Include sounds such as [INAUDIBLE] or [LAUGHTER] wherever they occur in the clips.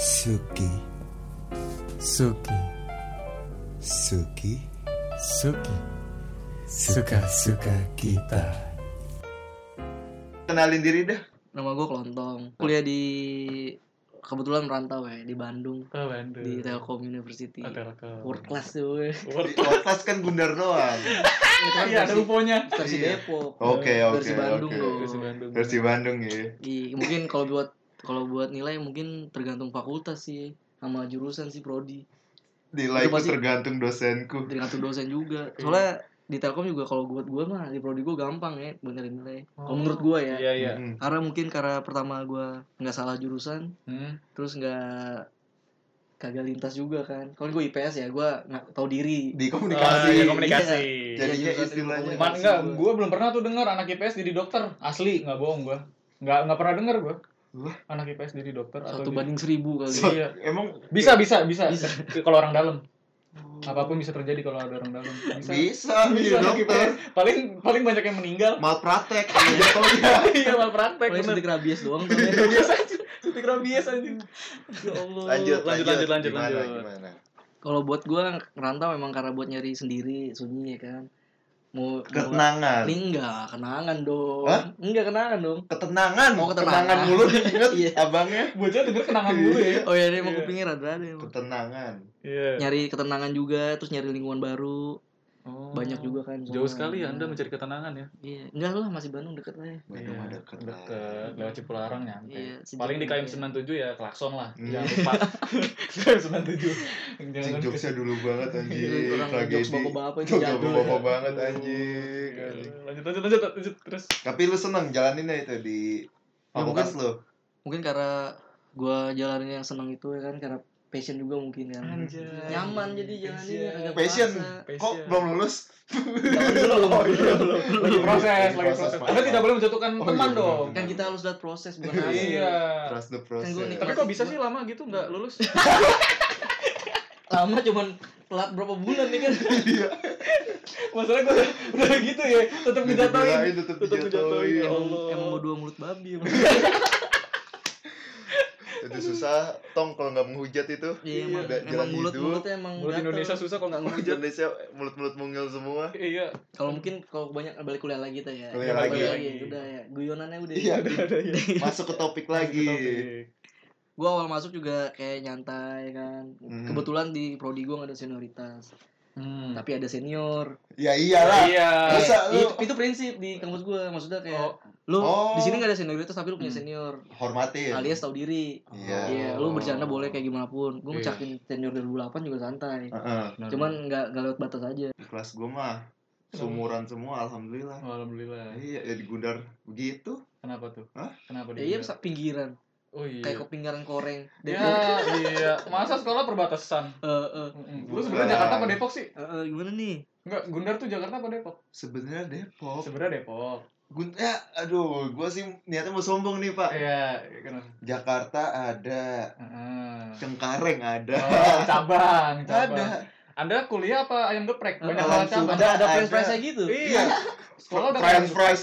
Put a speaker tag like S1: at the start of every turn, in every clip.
S1: Suki,
S2: Suki,
S1: Suki,
S2: Suki,
S1: suka-suka kita.
S3: kenalin diri deh
S4: Nama gue Kelontong.
S2: Nah.
S4: Kuliah di kebetulan merantau ya di Bandung
S2: Oh, Bandung.
S4: di Telkom University.
S2: Oh, Telkom.
S4: World class tuh gue.
S2: [LAUGHS]
S3: di kelas kan Gundar doang
S4: Itu kan
S2: Iya, ada
S4: versi,
S2: uponya.
S4: versi
S3: Iya.
S4: Depok.
S3: oke oke
S4: Versi Bandung
S3: oke
S4: dong.
S2: Versi Bandung.
S3: versi Bandung ya
S4: Di- mungkin kalau buat kalau buat nilai mungkin tergantung fakultas sih sama jurusan sih prodi.
S3: nilaiku
S4: pasti-
S3: tergantung dosenku
S4: Tergantung dosen juga.
S2: Iya.
S4: Soalnya di Telkom juga kalau buat gue mah di prodi gue gampang ya benerin nilai. Kalau menurut gue ya.
S2: Iya, iya.
S3: Mm.
S4: Karena mungkin karena pertama gue nggak salah jurusan,
S2: Hmm.
S4: terus nggak kagak lintas juga kan kalau gue IPS ya gue nggak tahu diri
S3: di
S2: Ah,
S3: komunikasi
S2: iya, komunikasi.
S3: jadinya
S4: Iya, jurusan
S3: istilahnya
S4: ilmu
S2: Man, enggak, gue belum pernah tuh dengar anak IPS jadi dokter. Asli, nggak bohong gue. Nggak, nggak pernah dengar gue.
S3: Wah.
S2: Anak IPS jadi dokter atau
S4: satu
S2: jadi-
S4: banding seribu kali
S2: Iya.
S3: [LAUGHS] emang
S2: Bisa, bisa, bisa. kalau orang dalam. Apapun bisa terjadi kalau ada orang dalam. Bisa.
S3: bisa
S2: Bisa,
S3: bisa
S2: anak IPS.
S3: dokter
S2: Paling paling banyak yang
S3: [LAUGHS]
S2: meninggal.
S3: malpraktek kalau
S2: [LAUGHS]
S3: jatuhnya
S2: Iya, malah praktek.
S4: paling
S2: bener.
S4: suntik rabies doang Ya
S2: Biasa aja. Suntik rabies aja.
S3: lanjut
S2: Lanjut, lanjut, lanjut,
S3: gimana
S2: lanjut.
S3: gimana
S4: kalau buat gue ngerantau memang karena buat nyari sendiri sunyi ya kan mau mau-
S3: ketenangan
S4: ini enggak kenangan dong
S3: Hah?
S4: enggak kenangan dong
S3: ketenangan
S4: Oh, ketenangan.
S3: ketenangan mulu diinget
S4: Iya.
S3: abangnya
S2: Bocah denger kenangan dulu ya.
S4: oh iya deh mau
S2: Iya.
S4: kupingnya rada rada emang.
S3: ketenangan
S2: Iya.
S4: nyari ketenangan juga terus nyari lingkungan baru
S2: Oh.
S4: banyak juga kan soalnya.
S2: Jauh sekali
S3: Iya.
S2: ya Anda mencari ketenangan ya.
S4: iya enggak lah masih Bandung deket lah ya
S3: Bandung
S2: Iya,
S3: ada ketenangan.
S2: Deket, lewat Cipularang nyampe.
S4: Iya, sejam
S2: Paling di KM
S4: ya.
S2: 97 ya klakson lah.
S3: Hmm.
S2: Jangan
S3: [LAUGHS]
S2: lupa. KM 97.
S3: Anjing,
S2: Jangan
S3: jokesnya dulu banget anjing
S4: Orang
S3: Iya, tragedi
S4: Iya, jokes bapak-bapak itu
S3: [LAUGHS] Jokes
S4: jadul ya.
S3: bapak-bapak banget anjing
S2: Iya, Lanjut lanjut lanjut lanjut terus.
S3: tapi lu seneng jalaninnya itu di
S4: Ya,
S3: fakultas lu
S4: mungkin karena gua jalanin yang seneng itu ya kan karena passion juga mungkin kan nyaman jadi jalaninnya agak
S3: passion
S4: kerasa.
S3: kok
S2: Passion.
S3: belum Oh, lulus
S2: Oh, iya,
S4: Jangan dulu
S2: Lagi proses, lagi
S3: Proses,
S2: proses.
S3: Pak.
S2: Anda tidak boleh menjatuhkan
S3: Oh,
S2: teman
S3: iya,
S2: dong.
S3: benar.
S4: kan kita harus lihat proses
S3: [LAUGHS]
S4: bukan hasil
S2: Iya.
S3: trust the
S4: Kan gua
S3: process
S4: nikmat.
S2: Tapi kok bisa sih lama gitu nggak
S3: Hmm.
S2: lulus? [LAUGHS]
S4: lama cuman telat berapa bulan nih
S3: [LAUGHS]
S4: kan
S2: Masalah gue udah gitu ya, tetap
S3: Dijatuhin,
S2: ngejatuhin.
S3: tetap
S2: Tetap
S3: dijatuhin.
S2: ngejatuhin.
S4: Iya.
S2: Ya Allah.
S4: emang mau dua mulut babi emang
S3: Iya, itu susah tong kalau nggak menghujat itu
S4: iya emang,
S3: Udah
S4: emang
S3: jalan
S4: mulut
S3: hidup.
S4: mulutnya emang
S2: Mulut
S4: gatel.
S2: Indonesia susah kalau nggak
S3: Mulut
S2: ngehujat.
S3: Indonesia mulut-mulut mungil semua
S2: Iya.
S4: kalau mungkin kalau banyak balik kuliah lagi kita ya
S3: Kuliah
S4: Balik
S3: lagi.
S4: udah ya guyonannya udah
S3: Iya,
S2: Ada ya.
S3: masuk ke topik lagi
S4: gue awal masuk juga kayak nyantai kan
S3: Hmm.
S4: kebetulan di prodi gue gak ada senioritas
S2: Hmm.
S4: tapi ada senior
S3: ya iyalah
S2: Iya.
S3: Masa lu-
S4: itu, itu prinsip di kampus gue maksudnya kayak
S2: Oh.
S4: lu
S3: Oh.
S4: di sini gak ada senioritas tapi lu punya
S2: Hmm.
S4: senior
S3: hormatin
S4: alias tahu diri
S2: Oh.
S3: Iya.
S4: iya lu bercanda boleh kayak gimana pun gue
S2: Iya. Ah,
S4: mencakin senior 2008 juga santai
S3: Heeh.
S4: cuman nggak nggak lewat batas aja
S3: Di kelas gue mah sumuran semua alhamdulillah
S4: Oh.
S2: alhamdulillah.
S3: iya ya di Gundar begitu
S2: Kenapa tuh?
S3: Hah?
S2: Kenapa
S4: ya, iya
S2: dibilang?
S4: bisa pinggiran
S2: Oh iya.
S4: kayak kepinggaran koreng
S2: Ya,
S4: Depok
S2: iya. Masa sekolah perbatasan?
S4: Eh, eh,
S2: Lu
S3: Bukan.
S2: sebenarnya Jakarta apa Depok sih?
S4: eh, eh, gimana nih
S2: Enggak, Gundar tuh Jakarta apa Depok?
S3: sebenarnya Depok
S2: Sebenarnya Depok.
S3: Gun ya, aduh, gua sih niatnya mau sombong nih, Pak.
S2: Iya, kenapa?
S3: Jakarta ada,
S2: Ah.
S3: Cengkareng ada.
S2: Oh, cabang,
S3: ada.
S2: cabang. Anda kuliah apa ayam geprek?
S4: Eh,
S2: Banyak banget
S3: langsung.
S2: cabang.
S4: ada ada
S3: ada.
S4: french fries gitu
S2: Iya. Sekolah udah
S3: French fries.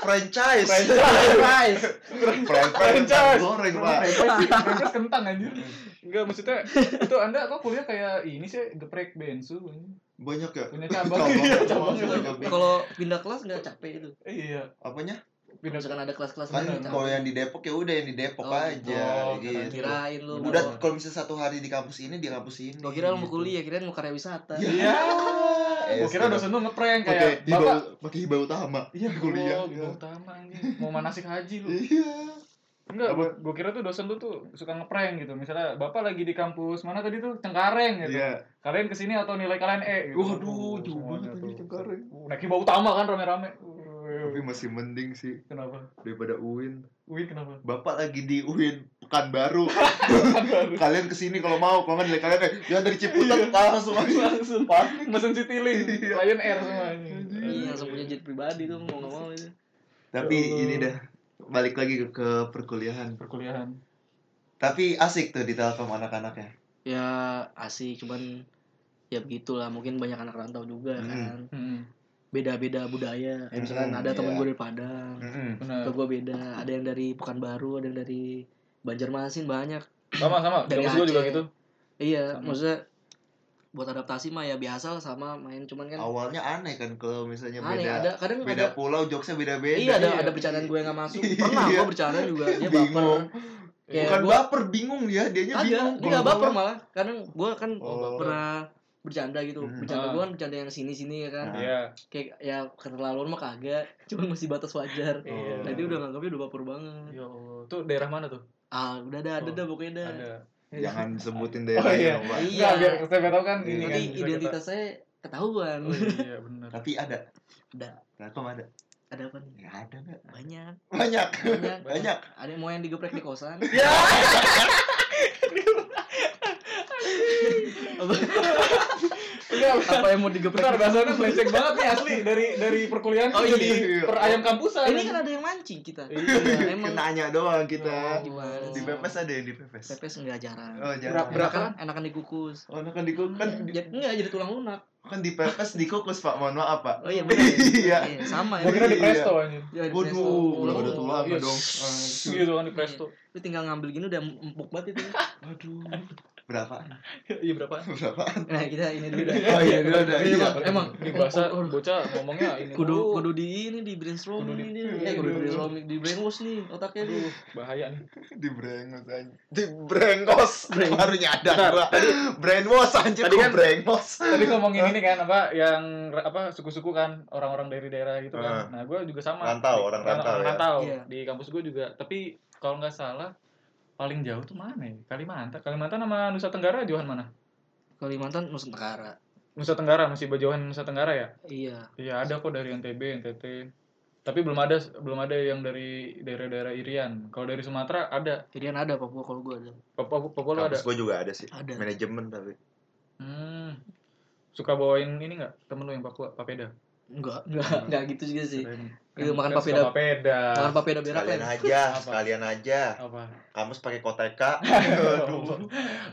S3: Franchise.
S4: french fries
S3: French fries. kentang
S2: Franchise.
S3: Goreng, Pak.
S2: Terus kentang anjir. Enggak maksudnya itu Anda kok kuliah kayak ini sih geprek bensu anjir.
S3: Banyak ya?
S2: Punya cabang. Iya, cabang.
S4: kalau pindah kelas nggak capek itu
S2: Iya.
S3: Apanya?
S2: Pindah
S4: misalkan ada kelas-kelas
S3: Kan
S4: lain, nggak
S3: kalau
S4: capek.
S3: yang di Depok ya udah yang di Depok
S4: Iya, Oh,
S3: aja.
S2: Depok.
S3: gitu.
S4: kirain lu
S3: Udah kalau misalnya satu hari di kampus ini, di kampus ini.
S4: Gua kira lu mau
S3: gitu.
S4: kuliah, kirain mau karya wisata.
S2: Iya.
S3: Eh,
S2: Gua kira
S3: sudah.
S2: dosen lu ngeprank
S3: Pakai
S2: kayak
S3: hibau,
S2: Bapak.
S3: pakai hibau utama.
S2: Iya,
S3: kuliah.
S4: Oh,
S3: gitu.
S2: kuliah
S4: gitu.
S2: utama anjing. Mau manasik haji lu.
S3: Iya.
S2: Enggak,
S3: Apa?
S2: gua, gua kira tuh dosen lu tuh suka ngeprank gitu. Misalnya Bapak lagi di kampus mana tadi tuh Cengkareng gitu.
S3: Iya.
S2: Kalian kesini atau nilai kalian E gitu.
S3: Waduh, jauh banget
S2: tuh.
S3: anjing Cengkareng.
S2: Uh, Naik hibau utama kan rame-rame. Uh,
S3: Tapi masih mending sih
S2: Kenapa?
S3: daripada UIN.
S2: Wih, kenapa?
S3: Bapak lagi di UIN
S4: [LAUGHS]
S3: Pekanbaru. kalian kesini kalau mau, kalau nggak nilai kalian eh, jangan dari
S4: Iya.
S3: Ciputat langsung langsung pasti.
S2: Mesin Citilink,
S3: Iya.
S2: Lion Air semuanya.
S4: Iya, langsung punya jet pribadi tuh mau nggak
S2: Iya.
S4: mau itu.
S3: Tapi
S4: Ya
S3: ini dah balik lagi ke, ke perkuliahan.
S2: Perkuliahan.
S3: Tapi asik tuh di Telkom anak-anaknya.
S4: ya asik cuman ya begitulah mungkin banyak anak rantau juga
S3: Hmm.
S4: kan
S2: Hmm,
S4: beda-beda budaya kayak misalkan
S3: Hmm,
S4: ada temen
S3: iya.
S4: gue dari Padang
S2: Hmm.
S3: Mm-mm.
S4: atau
S2: benar.
S4: gue beda ada yang dari Pekanbaru ada yang dari Banjarmasin banyak
S2: sama sama
S4: Dari
S2: kampus gue juga
S4: Aceh.
S2: gitu
S4: iya
S2: Sama.
S4: maksudnya buat adaptasi mah ya biasa lah sama main cuman kan
S3: Awalnya aneh kan kalau misalnya
S4: aneh
S3: beda
S4: ada kadang
S3: beda
S4: ada
S3: pulau jokesnya beda-beda.
S4: iya ada
S2: iya.
S4: ada bercandaan gue yang nggak masuk pernah
S3: Iya.
S4: gue bercandaan juga dia
S3: Bingung.
S4: baper kayak
S3: Bukan
S4: ya, gua-
S3: baper, bingung dia, dianya
S4: ada
S3: bingung.
S4: dia nggak baper malah kadang gue kan
S3: Oh, baper.
S4: pernah bercanda gitu
S3: Hmm.
S4: bercanda
S2: Ah.
S4: gue kan bercanda yang sini sini ya kan
S3: Nah.
S2: iya
S4: kayak ya keterlaluan mah kagak [LAUGHS] cuma masih batas wajar
S2: Iya.
S3: Oh.
S4: Nah, dia udah nganggapnya udah baper banget
S2: ya allah tuh daerah mana tuh
S4: ah udah dah ada
S2: Oh,
S4: dah pokoknya dah
S2: ada
S3: Jangan sebutin
S2: Oh,
S3: daerah
S2: iya.
S3: ya, Pak.
S4: Iya.
S2: iya biar saya biar tahu kan ini kan
S4: nanti
S2: bisa
S4: identitas saya ketahuan
S2: kita- oh, iya [LAUGHS] benar
S3: Tapi ada.
S4: Ada.
S3: Nah, kok ada?
S4: [LAUGHS] ada apa nih
S3: Nggak ada nggak?
S4: banyak
S3: Banyak.
S4: banyak
S3: Banyak. [LAUGHS]
S4: ada yang mau yang digeprek di
S2: [LAUGHS]
S4: kosan
S2: Ya. [LAUGHS]
S4: apa,
S2: Enggak,
S4: apa yang mau digeprek
S2: Iya, bentar bahasanya melenceng banget nih asli dari dari perkuliahan
S4: Oh,
S2: oh,
S4: iya,
S2: jadi
S3: iya.
S2: per ayam kampusan
S4: ini kan ada yang mancing kita
S2: [LAUGHS] Iya.
S4: emang
S3: Nanya doang kita.
S4: Gimana
S3: Di pepes ada yang di pepes.
S4: pepes nggak jarang
S3: Oh,
S2: Berak-
S3: jangan.
S2: berak-
S4: enakan enakan dikukus
S3: Oh, kan di kan di-
S4: jadi ya, nggak jadi tulang
S2: [LAUGHS]
S4: lunak
S3: kan di pepes dikukus Pak. Mohon maaf, Pak.
S4: oh iya benar ya.
S3: [LAUGHS] Iya.
S4: Iya, sama ya
S2: gue kira di
S3: Iya.
S2: presto aja
S4: Iya, di
S3: Waduh,
S4: presto.
S3: belum ada
S2: Oh,
S3: tulang
S2: iya.
S3: dong.
S2: gitu kan di presto
S4: lu tinggal ngambil gini udah empuk banget itu
S3: Aduh. Berapa?
S2: iya berapa
S3: Berapa? [LAUGHS]
S4: nah kita ini dulu dah
S3: Oh iya, dulu dah.
S4: Iya,
S3: Iya.
S4: Bang. emang Oh,
S2: di bahasa bocah ngomongnya ini
S4: kudu
S2: dulu.
S4: kudu di ini di brainstorming
S2: Kudu di-
S4: ini eh kudu di brainstorming di brainwash nih otaknya nih
S2: Aduh, bahaya nih
S3: Di brengos aja. Di brengos.
S4: Breng-
S3: Baru nyadar gua. Brainwash anjir.
S2: Tadi
S3: Tadi
S2: kan-
S3: brengos. [LAUGHS]
S2: tadi ngomongin ini kan apa yang ra- apa suku-suku kan orang-orang dari daerah gitu kan nah gue juga sama
S3: Rantau,
S2: Di-
S3: orang rantau ya.
S2: rantau.
S4: Iya.
S2: di kampus gue juga tapi kalau nggak salah paling jauh tuh mana ya? Kalimantan Kalimantan sama Nusa Tenggara jauhan mana
S4: Kalimantan Nusa Tenggara
S2: Nusa Tenggara masih berjauhan Nusa Tenggara ya
S4: iya
S2: iya ada kok dari NTB NTT tapi belum ada belum ada yang dari daerah-daerah Irian kalau dari Sumatera ada
S4: Irian ada Papua kalau gua ada
S2: Papua Papua lo ada
S3: Kampus gua juga ada sih.
S4: ada
S3: Manajemen tapi.
S2: hmm. suka bawain ini nggak temen lo yang Papua papeda
S4: enggak enggak
S3: Hmm.
S4: enggak gitu juga sih
S2: Keren.
S4: Itu Iya, makan
S2: Kan suka
S4: papeda.
S2: papeda
S4: makan papeda berak
S3: Sekalian
S4: lah
S3: aja,
S2: Apa?
S3: sekalian aja.
S2: apa
S3: Kamus pakai koteka.
S2: Aduh.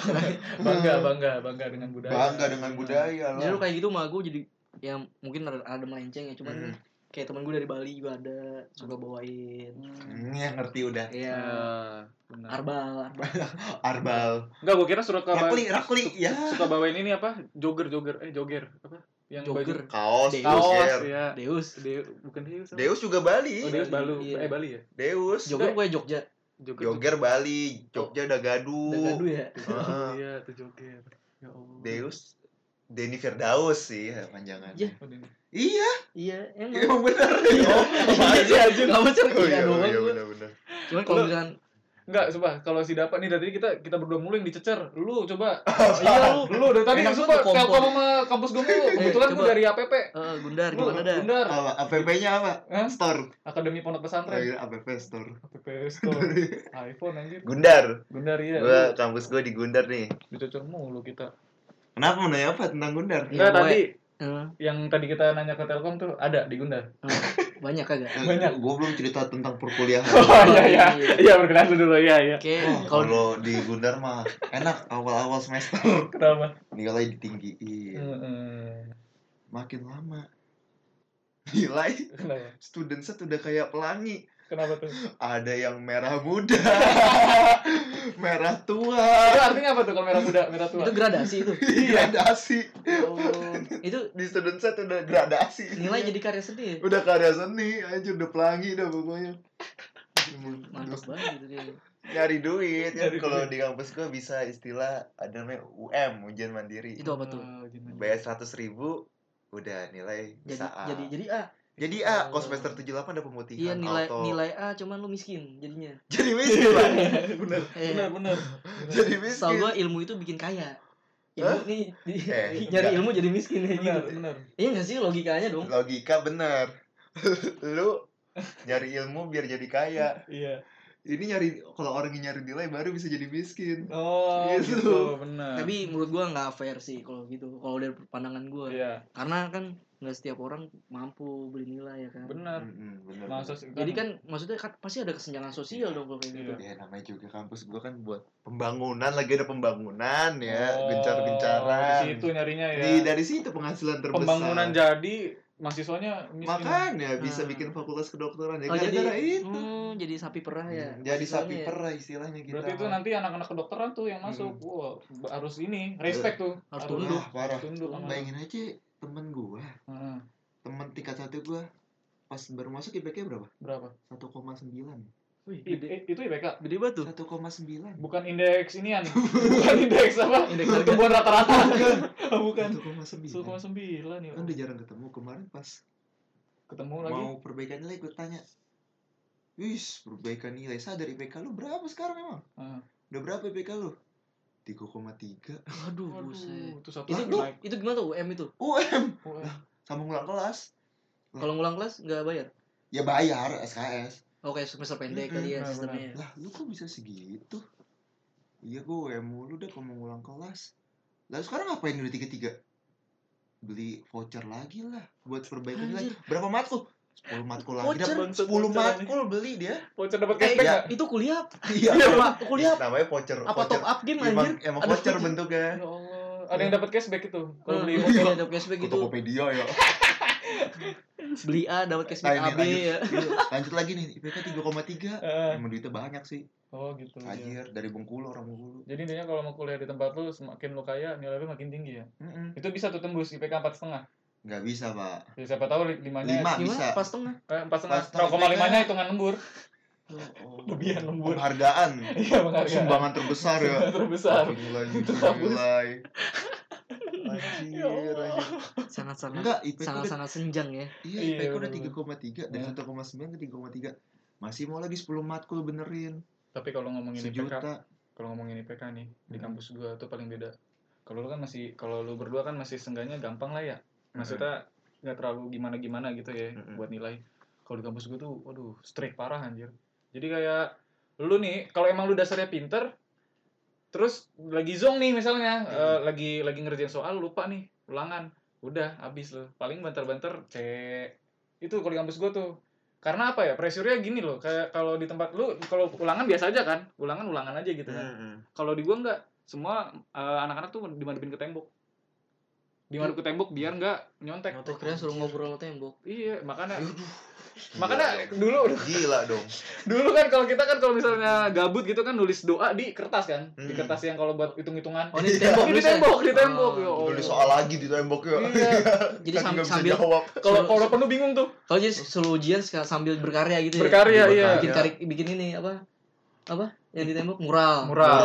S2: [LAUGHS] bangga bangga bangga dengan budaya
S3: Bangga dengan
S2: Iya.
S3: budaya
S4: jadi lu
S3: lah.
S4: kayak gitu mah gua jadi ya mungkin ada, ada melenceng ya cuman
S3: Hmm.
S4: kayak teman gua dari Bali juga ada suka bawain
S3: Hmm, ya ngerti udah. [LAUGHS]
S2: ya
S4: iya
S2: benar
S4: arbal arbal
S3: Arbal.
S2: enggak gua kira suka bawa-
S3: Rakli, rakli. Ya.
S2: suka bawain ini apa jogger jogger eh jogger apa yang
S4: Jogger.
S2: baju-
S3: Kaos,
S4: Deus.
S2: kaos
S3: Deus.
S2: ya
S4: deus
S2: Deu- bukan Deus apa?
S3: Deus juga
S2: oh,
S3: Bali.
S2: Deus Balu
S4: Iya.
S2: eh Bali ya
S3: Deus.
S4: Jogja gue Jogja
S3: Jogger Bali, Jogja Dagadu.
S4: dan Gadu ya
S3: Heeh.
S2: iya itu jogger ya Allah
S3: Deus Denny Firdaus sih ya, panjangannya.
S4: Ya.
S2: Oh, Deus.
S3: Iya,
S4: iya emang
S3: emang bener. Oh,
S2: iya,
S3: apaan sih?
S4: aja nggak
S3: [LAUGHS]
S4: mau
S3: Oh iya,
S4: cerita
S3: oh,
S4: doang
S3: iya
S4: gua.
S3: bener-bener.
S4: cuman kalau
S2: Lu-
S4: misalkan
S2: Enggak, coba kalau si Dapa nih dari tadi kita kita berdua mulu yang dicecer. Lu coba. [LAUGHS]
S4: iya lu
S2: Lu dari tadi
S4: Enak banget
S2: coba
S4: tuh
S2: telkom
S4: kompor.
S2: sama kampus gue mulu. Kebetulan gue
S4: coba.
S2: dari APP.
S4: Eh, Gundar
S2: Lu
S4: gimana dah
S2: bener.
S3: Apa? APP-nya apa?
S2: Hah?
S3: Store.
S2: Akademi Pondok Pesantren.
S3: Terakhir APP Store.
S2: APP [LAUGHS] Store. iPhone
S3: [LAUGHS]
S2: anjir.
S3: Gundar.
S2: Gundar ya.
S3: Gua kampus gua di Gundar nih.
S2: Dicecer mulu kita.
S3: Kenapa mau nanya apa tentang Gundar?
S4: Iya,
S2: Enggak
S4: gue-
S2: tadi
S4: Eh,
S2: yang tadi kita nanya ke Telkom tuh ada di Gundar.
S4: eh,
S3: [LAUGHS]
S4: banyak kagak
S2: Banyak.
S3: Gua belum cerita tentang perkuliahan.
S2: [LAUGHS] [LAUGHS] Oh
S4: iya, iya.
S2: Iya, berkenalan dulu ya, iya.
S4: oke
S3: Oh,
S4: kalau
S3: kalau di Gundar mah enak awal-awal semester
S2: Kenapa?
S3: nilai
S2: Hmm.
S3: ditinggiin
S2: Heeh.
S3: makin lama nilai
S2: Kenapa?
S3: students udah kayak pelangi
S2: Kenapa tuh?
S3: ada yang merah muda, [LAUGHS] merah
S2: [LAUGHS] Itu
S3: tua,
S2: artinya apa tuh kalau merah muda, merah tua?
S4: itu gradasi itu
S3: gradasi.
S4: Oh, itu
S3: Di student set udah gradasi.
S4: nilai jadi karya seni ya?
S3: Udah karya seni, anjir udah pelangi dah pokoknya.
S4: mantap banget gitu kayaknya.
S3: Nyari duit, ya.
S2: Nyari
S3: kalau di kampus gua bisa istilah ada namanya UM, ujian mandiri. Hmm.
S4: itu apa tuh
S2: Ah, gimana?
S3: Bayar 100 ribu, udah nilai
S4: jadi
S3: bisa A.
S4: jadi
S3: Jadi,
S4: jadi A
S3: A, kalau semester 78 ada pemutihan
S4: iya nilai
S3: auto.
S4: nilai A cuman lu miskin jadinya
S3: Jadi
S4: [LAUGHS]
S3: miskin, Pak. Bener.
S4: Eh,
S2: Benar, benar.
S3: Jadi
S4: Setahu
S3: miskin.
S4: gua ilmu itu bikin kaya.
S3: Hah?
S4: Ilmu nih jadi
S3: Eh,
S4: nyari
S3: enggak.
S4: ilmu [LAUGHS] jadi miskin kayak
S2: Benar,
S4: gitu.
S2: benar.
S4: Iya nggak sih logikanya dong?
S3: logika bener [LAUGHS] lu nyari ilmu biar jadi kaya
S2: Iya.
S3: ini nyari kalau orang yang nyari nilai baru bisa jadi miskin
S2: Oh,
S3: Gitu.
S2: gitu, benar.
S4: Tapi menurut gua nggak fair sih kalau gitu. Kalau dari pandangan gua.
S2: iya,
S4: Karena kan nggak setiap orang mampu beli nilai ya kan.
S2: benar.
S3: Mm-mm, bener,
S2: Masa
S3: bener.
S2: sih,
S4: Jadi kan maksudnya kan pasti ada kesenjangan sosial dong kalau kayak gitu.
S2: Iya.
S3: ya namanya juga kampus gua kan buat pembangunan lagi ada pembangunan ya gencar
S2: Oh,
S3: gencaran
S2: Di situ nyarinya ya.
S3: dari situ penghasilan terbesar
S2: Pembangunan jadi mahasiswanya miskin.
S3: Makanya bisa
S2: Ah.
S4: Nah.
S3: bikin fakultas kedokteran ya
S4: Oh, jadi-
S3: gara-gara itu. Hmm,
S4: Hmm, jadi sapi perah ya.
S3: Jadi
S4: Maksudnya
S3: sapi
S4: ya.
S3: perah istilahnya kita. Hmm.
S2: Berarti itu nanti anak-anak kedokteran tuh yang masuk. Wah, ba- harus ini, respect tuh.
S4: Harus
S3: Iya. tunduk.
S2: harus
S3: Parah.
S2: Tunduk.
S4: Oh.
S2: sama- Hmm,
S3: Bayangin aja temen gua,
S2: Heeh.
S3: temen tingkat satu gua pas baru masuk IPK berapa?
S2: berapa?
S3: 1,9
S4: Wih,
S2: I-
S4: gede,
S2: i- itu IPK.
S4: gede banget tuh.
S3: 1,9
S2: Bukan indeks
S3: [LAUGHS]
S2: ini ya nih. Bukan indeks apa?
S4: Indeks harga.
S2: Pertumbuhan rata-rata. Oh, Bukan.
S3: 1,9
S2: 1,9 ya.
S3: Kan udah jarang ketemu kemarin pas
S2: Ketemu lagi.
S3: mau perbaikan nilai gue tanya Wis, perbaikan nilai sadar IPK lu berapa sekarang emang?
S2: Heeh.
S3: Udah berapa IPK lu? 3,3
S4: Waduh,
S2: Waduh,
S4: buset.
S2: itu satu
S4: Itu
S2: lagi
S4: itu,
S2: naik.
S4: itu gimana tuh UM itu?
S3: UM
S2: Wah,
S3: Sama ngulang kelas
S4: Kalau ngulang kelas nggak bayar?
S3: Ya bayar SKS
S4: Oke, semester pendek kali
S3: Hmm,
S4: ya
S2: Mm-mm,
S4: sistemnya.
S3: Lah lu kok bisa segitu? Iya gue UM mulu deh kalau mau ngulang kelas Lalu sekarang ngapain udah 3,3? Beli voucher lagi lah Buat perbaikan nilai
S4: Anjir.
S3: Berapa matkul? 10 matkul lagi
S4: Voucher?
S3: dah. 10
S2: Voucher.
S3: matkul beli
S4: [LAUGHS]
S3: dia
S2: voucher dapat
S4: Eh,
S2: cashback
S3: Ya.
S2: nggak?
S4: itu kuliah apa?
S3: Iya
S4: Pak, kuliah apa?
S3: Namanya voucher
S4: apa
S3: voucher.
S4: top up game
S3: Emang,
S4: anjir?
S3: emang
S4: Ada
S3: voucher
S4: voucher.
S3: bentuknya
S2: Ya Allah, ada yang dapat cashback itu. Kalau beli
S3: Eh. Iya.
S4: voucher
S2: voucher
S4: ada Eh, cashback
S3: Ke
S4: gitu.
S3: Tokopedia
S4: [LAUGHS]
S3: ya
S4: Beli A dapat cashback
S3: Nah, ini
S4: AB ya.
S3: Lanjut lagi nih IPK 3,3
S2: [LAUGHS] Eh,
S3: Emang duitnya banyak sih
S2: Oh
S3: Iya.
S2: gitu. ya.
S3: Anjir dari Bengkulu orang Bengkulu
S2: Jadi intinya kalau mau kuliah di tempat lu semakin lu kaya nilai lu makin tinggi ya.
S3: Mm-mm.
S2: Itu bisa tuh tembus IPK empat setengah.
S3: nggak bisa pak
S2: Ya, siapa tahu li- limanya
S3: Lima.
S4: Gimana?
S3: bisa.
S4: Pas tengah.
S2: eh, empat setengah.
S3: Pas
S2: Nol koma
S3: IPK.
S2: limanya hitungan lembur. [LAUGHS]
S3: oh,
S2: Lebihan lembur.
S3: penghargaan
S2: Iya penghargaan.
S3: sumbangan terbesar ya
S2: [LAUGHS] terbesar.
S3: Tapi nilai
S2: Terbesar.
S3: nilai
S2: Ya
S3: anjir
S2: Allah.
S3: anjir
S4: Sangat-sangat
S3: enggak IPK udah
S4: sangat-sangat senjang ya.
S3: iya
S2: Iya,
S3: IPK udah
S2: bener-bener.
S3: 3,3 dari
S2: Ya.
S3: 1,9 ke 3,3 masih mau lagi 10 matkul benerin
S2: Tapi kalau ngomongin IPK,
S3: sejuta
S2: kalau ngomongin IPK nih di
S3: Hmm.
S2: kampus gua tuh paling beda. Kalau lu kan masih kalau lu berdua kan masih sengganya gampang lah ya. Maksudnya
S3: Hmm.
S2: nggak terlalu gimana-gimana gitu ya
S3: Mm-mm.
S2: buat nilai. Kalau di kampus gua tuh waduh strict parah anjir. Jadi kayak lu nih kalau emang lu dasarnya pinter terus lagi zonk nih misalnya
S3: Mm.
S2: eh, lagi lagi ngerjain soal lupa nih ulangan udah habis lu paling banter-banter C itu kalau di kampus gua tuh karena apa ya pressure-nya gini loh kayak kalau di tempat lu kalau ulangan biasa aja kan ulangan ulangan aja gitu kan kalau di gua nggak semua eh, anak-anak tuh dimadepin ke tembok dimadep ke tembok biar nggak nyontek
S4: Atau keren suruh ngobrol sama tembok.
S2: iya makanya
S3: Aduh.
S2: makanya dulu
S3: gila dong
S2: dulu kan kalau kita kan kalau misalnya gabut gitu kan nulis doa di kertas kan
S3: Hmm.
S2: di kertas yang kalau buat hitung-hitungan
S4: Oh, ini di tembok.
S2: di
S4: nulisnya?
S2: tembok di tembok
S4: Oh.
S2: ya Allah.
S3: Nulis soal lagi di tembok ya
S2: iya
S4: Jadi
S3: Kan
S4: sam-
S3: nggak bisa
S4: sambil
S3: jawab
S2: kalau kalau penuh bingung tuh
S4: kalau jadi solo ujian sek- sambil berkarya gitu ya.
S2: berkarya iya
S4: Bikin
S3: Iya.
S4: karya bikin ini apa? Apa? Yang di tembok mural.
S3: Mural.
S2: mural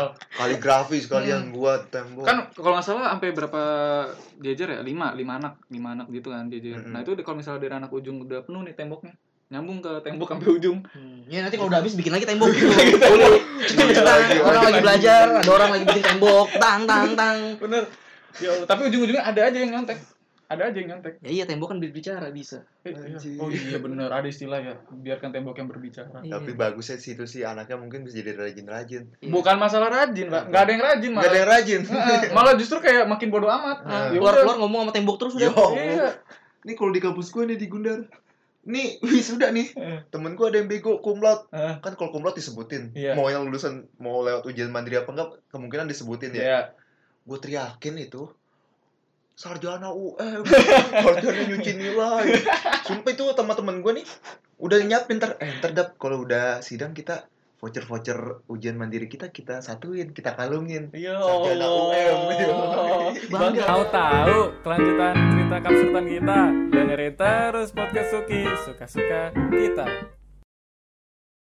S2: mural
S3: kaligrafi sekalian buat tembok
S2: Iya. kan kalau nggak salah sampai berapa jajar ya lima lima anak lima anak gitu kan jajar
S3: Mm-mm.
S2: nah itu kalau misalnya dari anak ujung udah penuh nih temboknya nyambung ke tembok sampai ujung
S4: Hmm. Ya nanti kalau udah habis bikin lagi tembok gitu.
S3: Iya, lagi, lagi,
S4: orang lagi
S3: lagi.
S4: belajar, ada orang lagi bikin tembok, tang tang tang.
S2: bener ya Allah. tapi ujung-ujungnya ada aja yang nyontek ada aja yang nyontek
S4: Ya iya tembok kan berbicara bisa.
S2: Eh, iya.
S3: Anjir.
S2: oh iya bener ada istilah ya biarkan tembok yang berbicara
S4: Iya.
S3: tapi bagusnya di situ sih anaknya mungkin bisa jadi rajin-rajin
S4: Iya.
S2: bukan masalah rajin pak nggak ada yang rajin
S3: nggak
S2: malah
S3: ada yang rajin
S2: Heeh, malah justru kayak makin bodoh amat
S4: Ah,
S2: Ya
S4: keluar
S2: udah.
S4: keluar ngomong sama tembok terus
S3: [LAUGHS]
S4: udah.
S3: Yo.
S2: iya
S3: nih kalau di kampus gue nih di Gundar nih wih sudah nih
S2: Heeh.
S3: temen gue ada yang bego kumlot
S2: Heeh.
S3: kan kalau kumlot disebutin
S2: Iya.
S3: mau yang lulusan mau lewat ujian mandiri apa enggak kemungkinan disebutin ya
S2: Iya.
S3: gue teriakin itu sarjana UM [LAUGHS] sarjana nyuci nilai sumpah itu teman-teman gue nih udah nyiapin ntar eh ntar Dap, kalau udah sidang kita voucher-voucher ujian mandiri kita kita satuin kita kalungin
S2: Iya.
S3: Sarjana [LAUGHS]
S2: Oh,
S3: UM.
S4: Bangga.
S5: Mau tahu kelanjutan cerita kapsutan kita? Dengerin terus podcast Suki, suka-suka kita.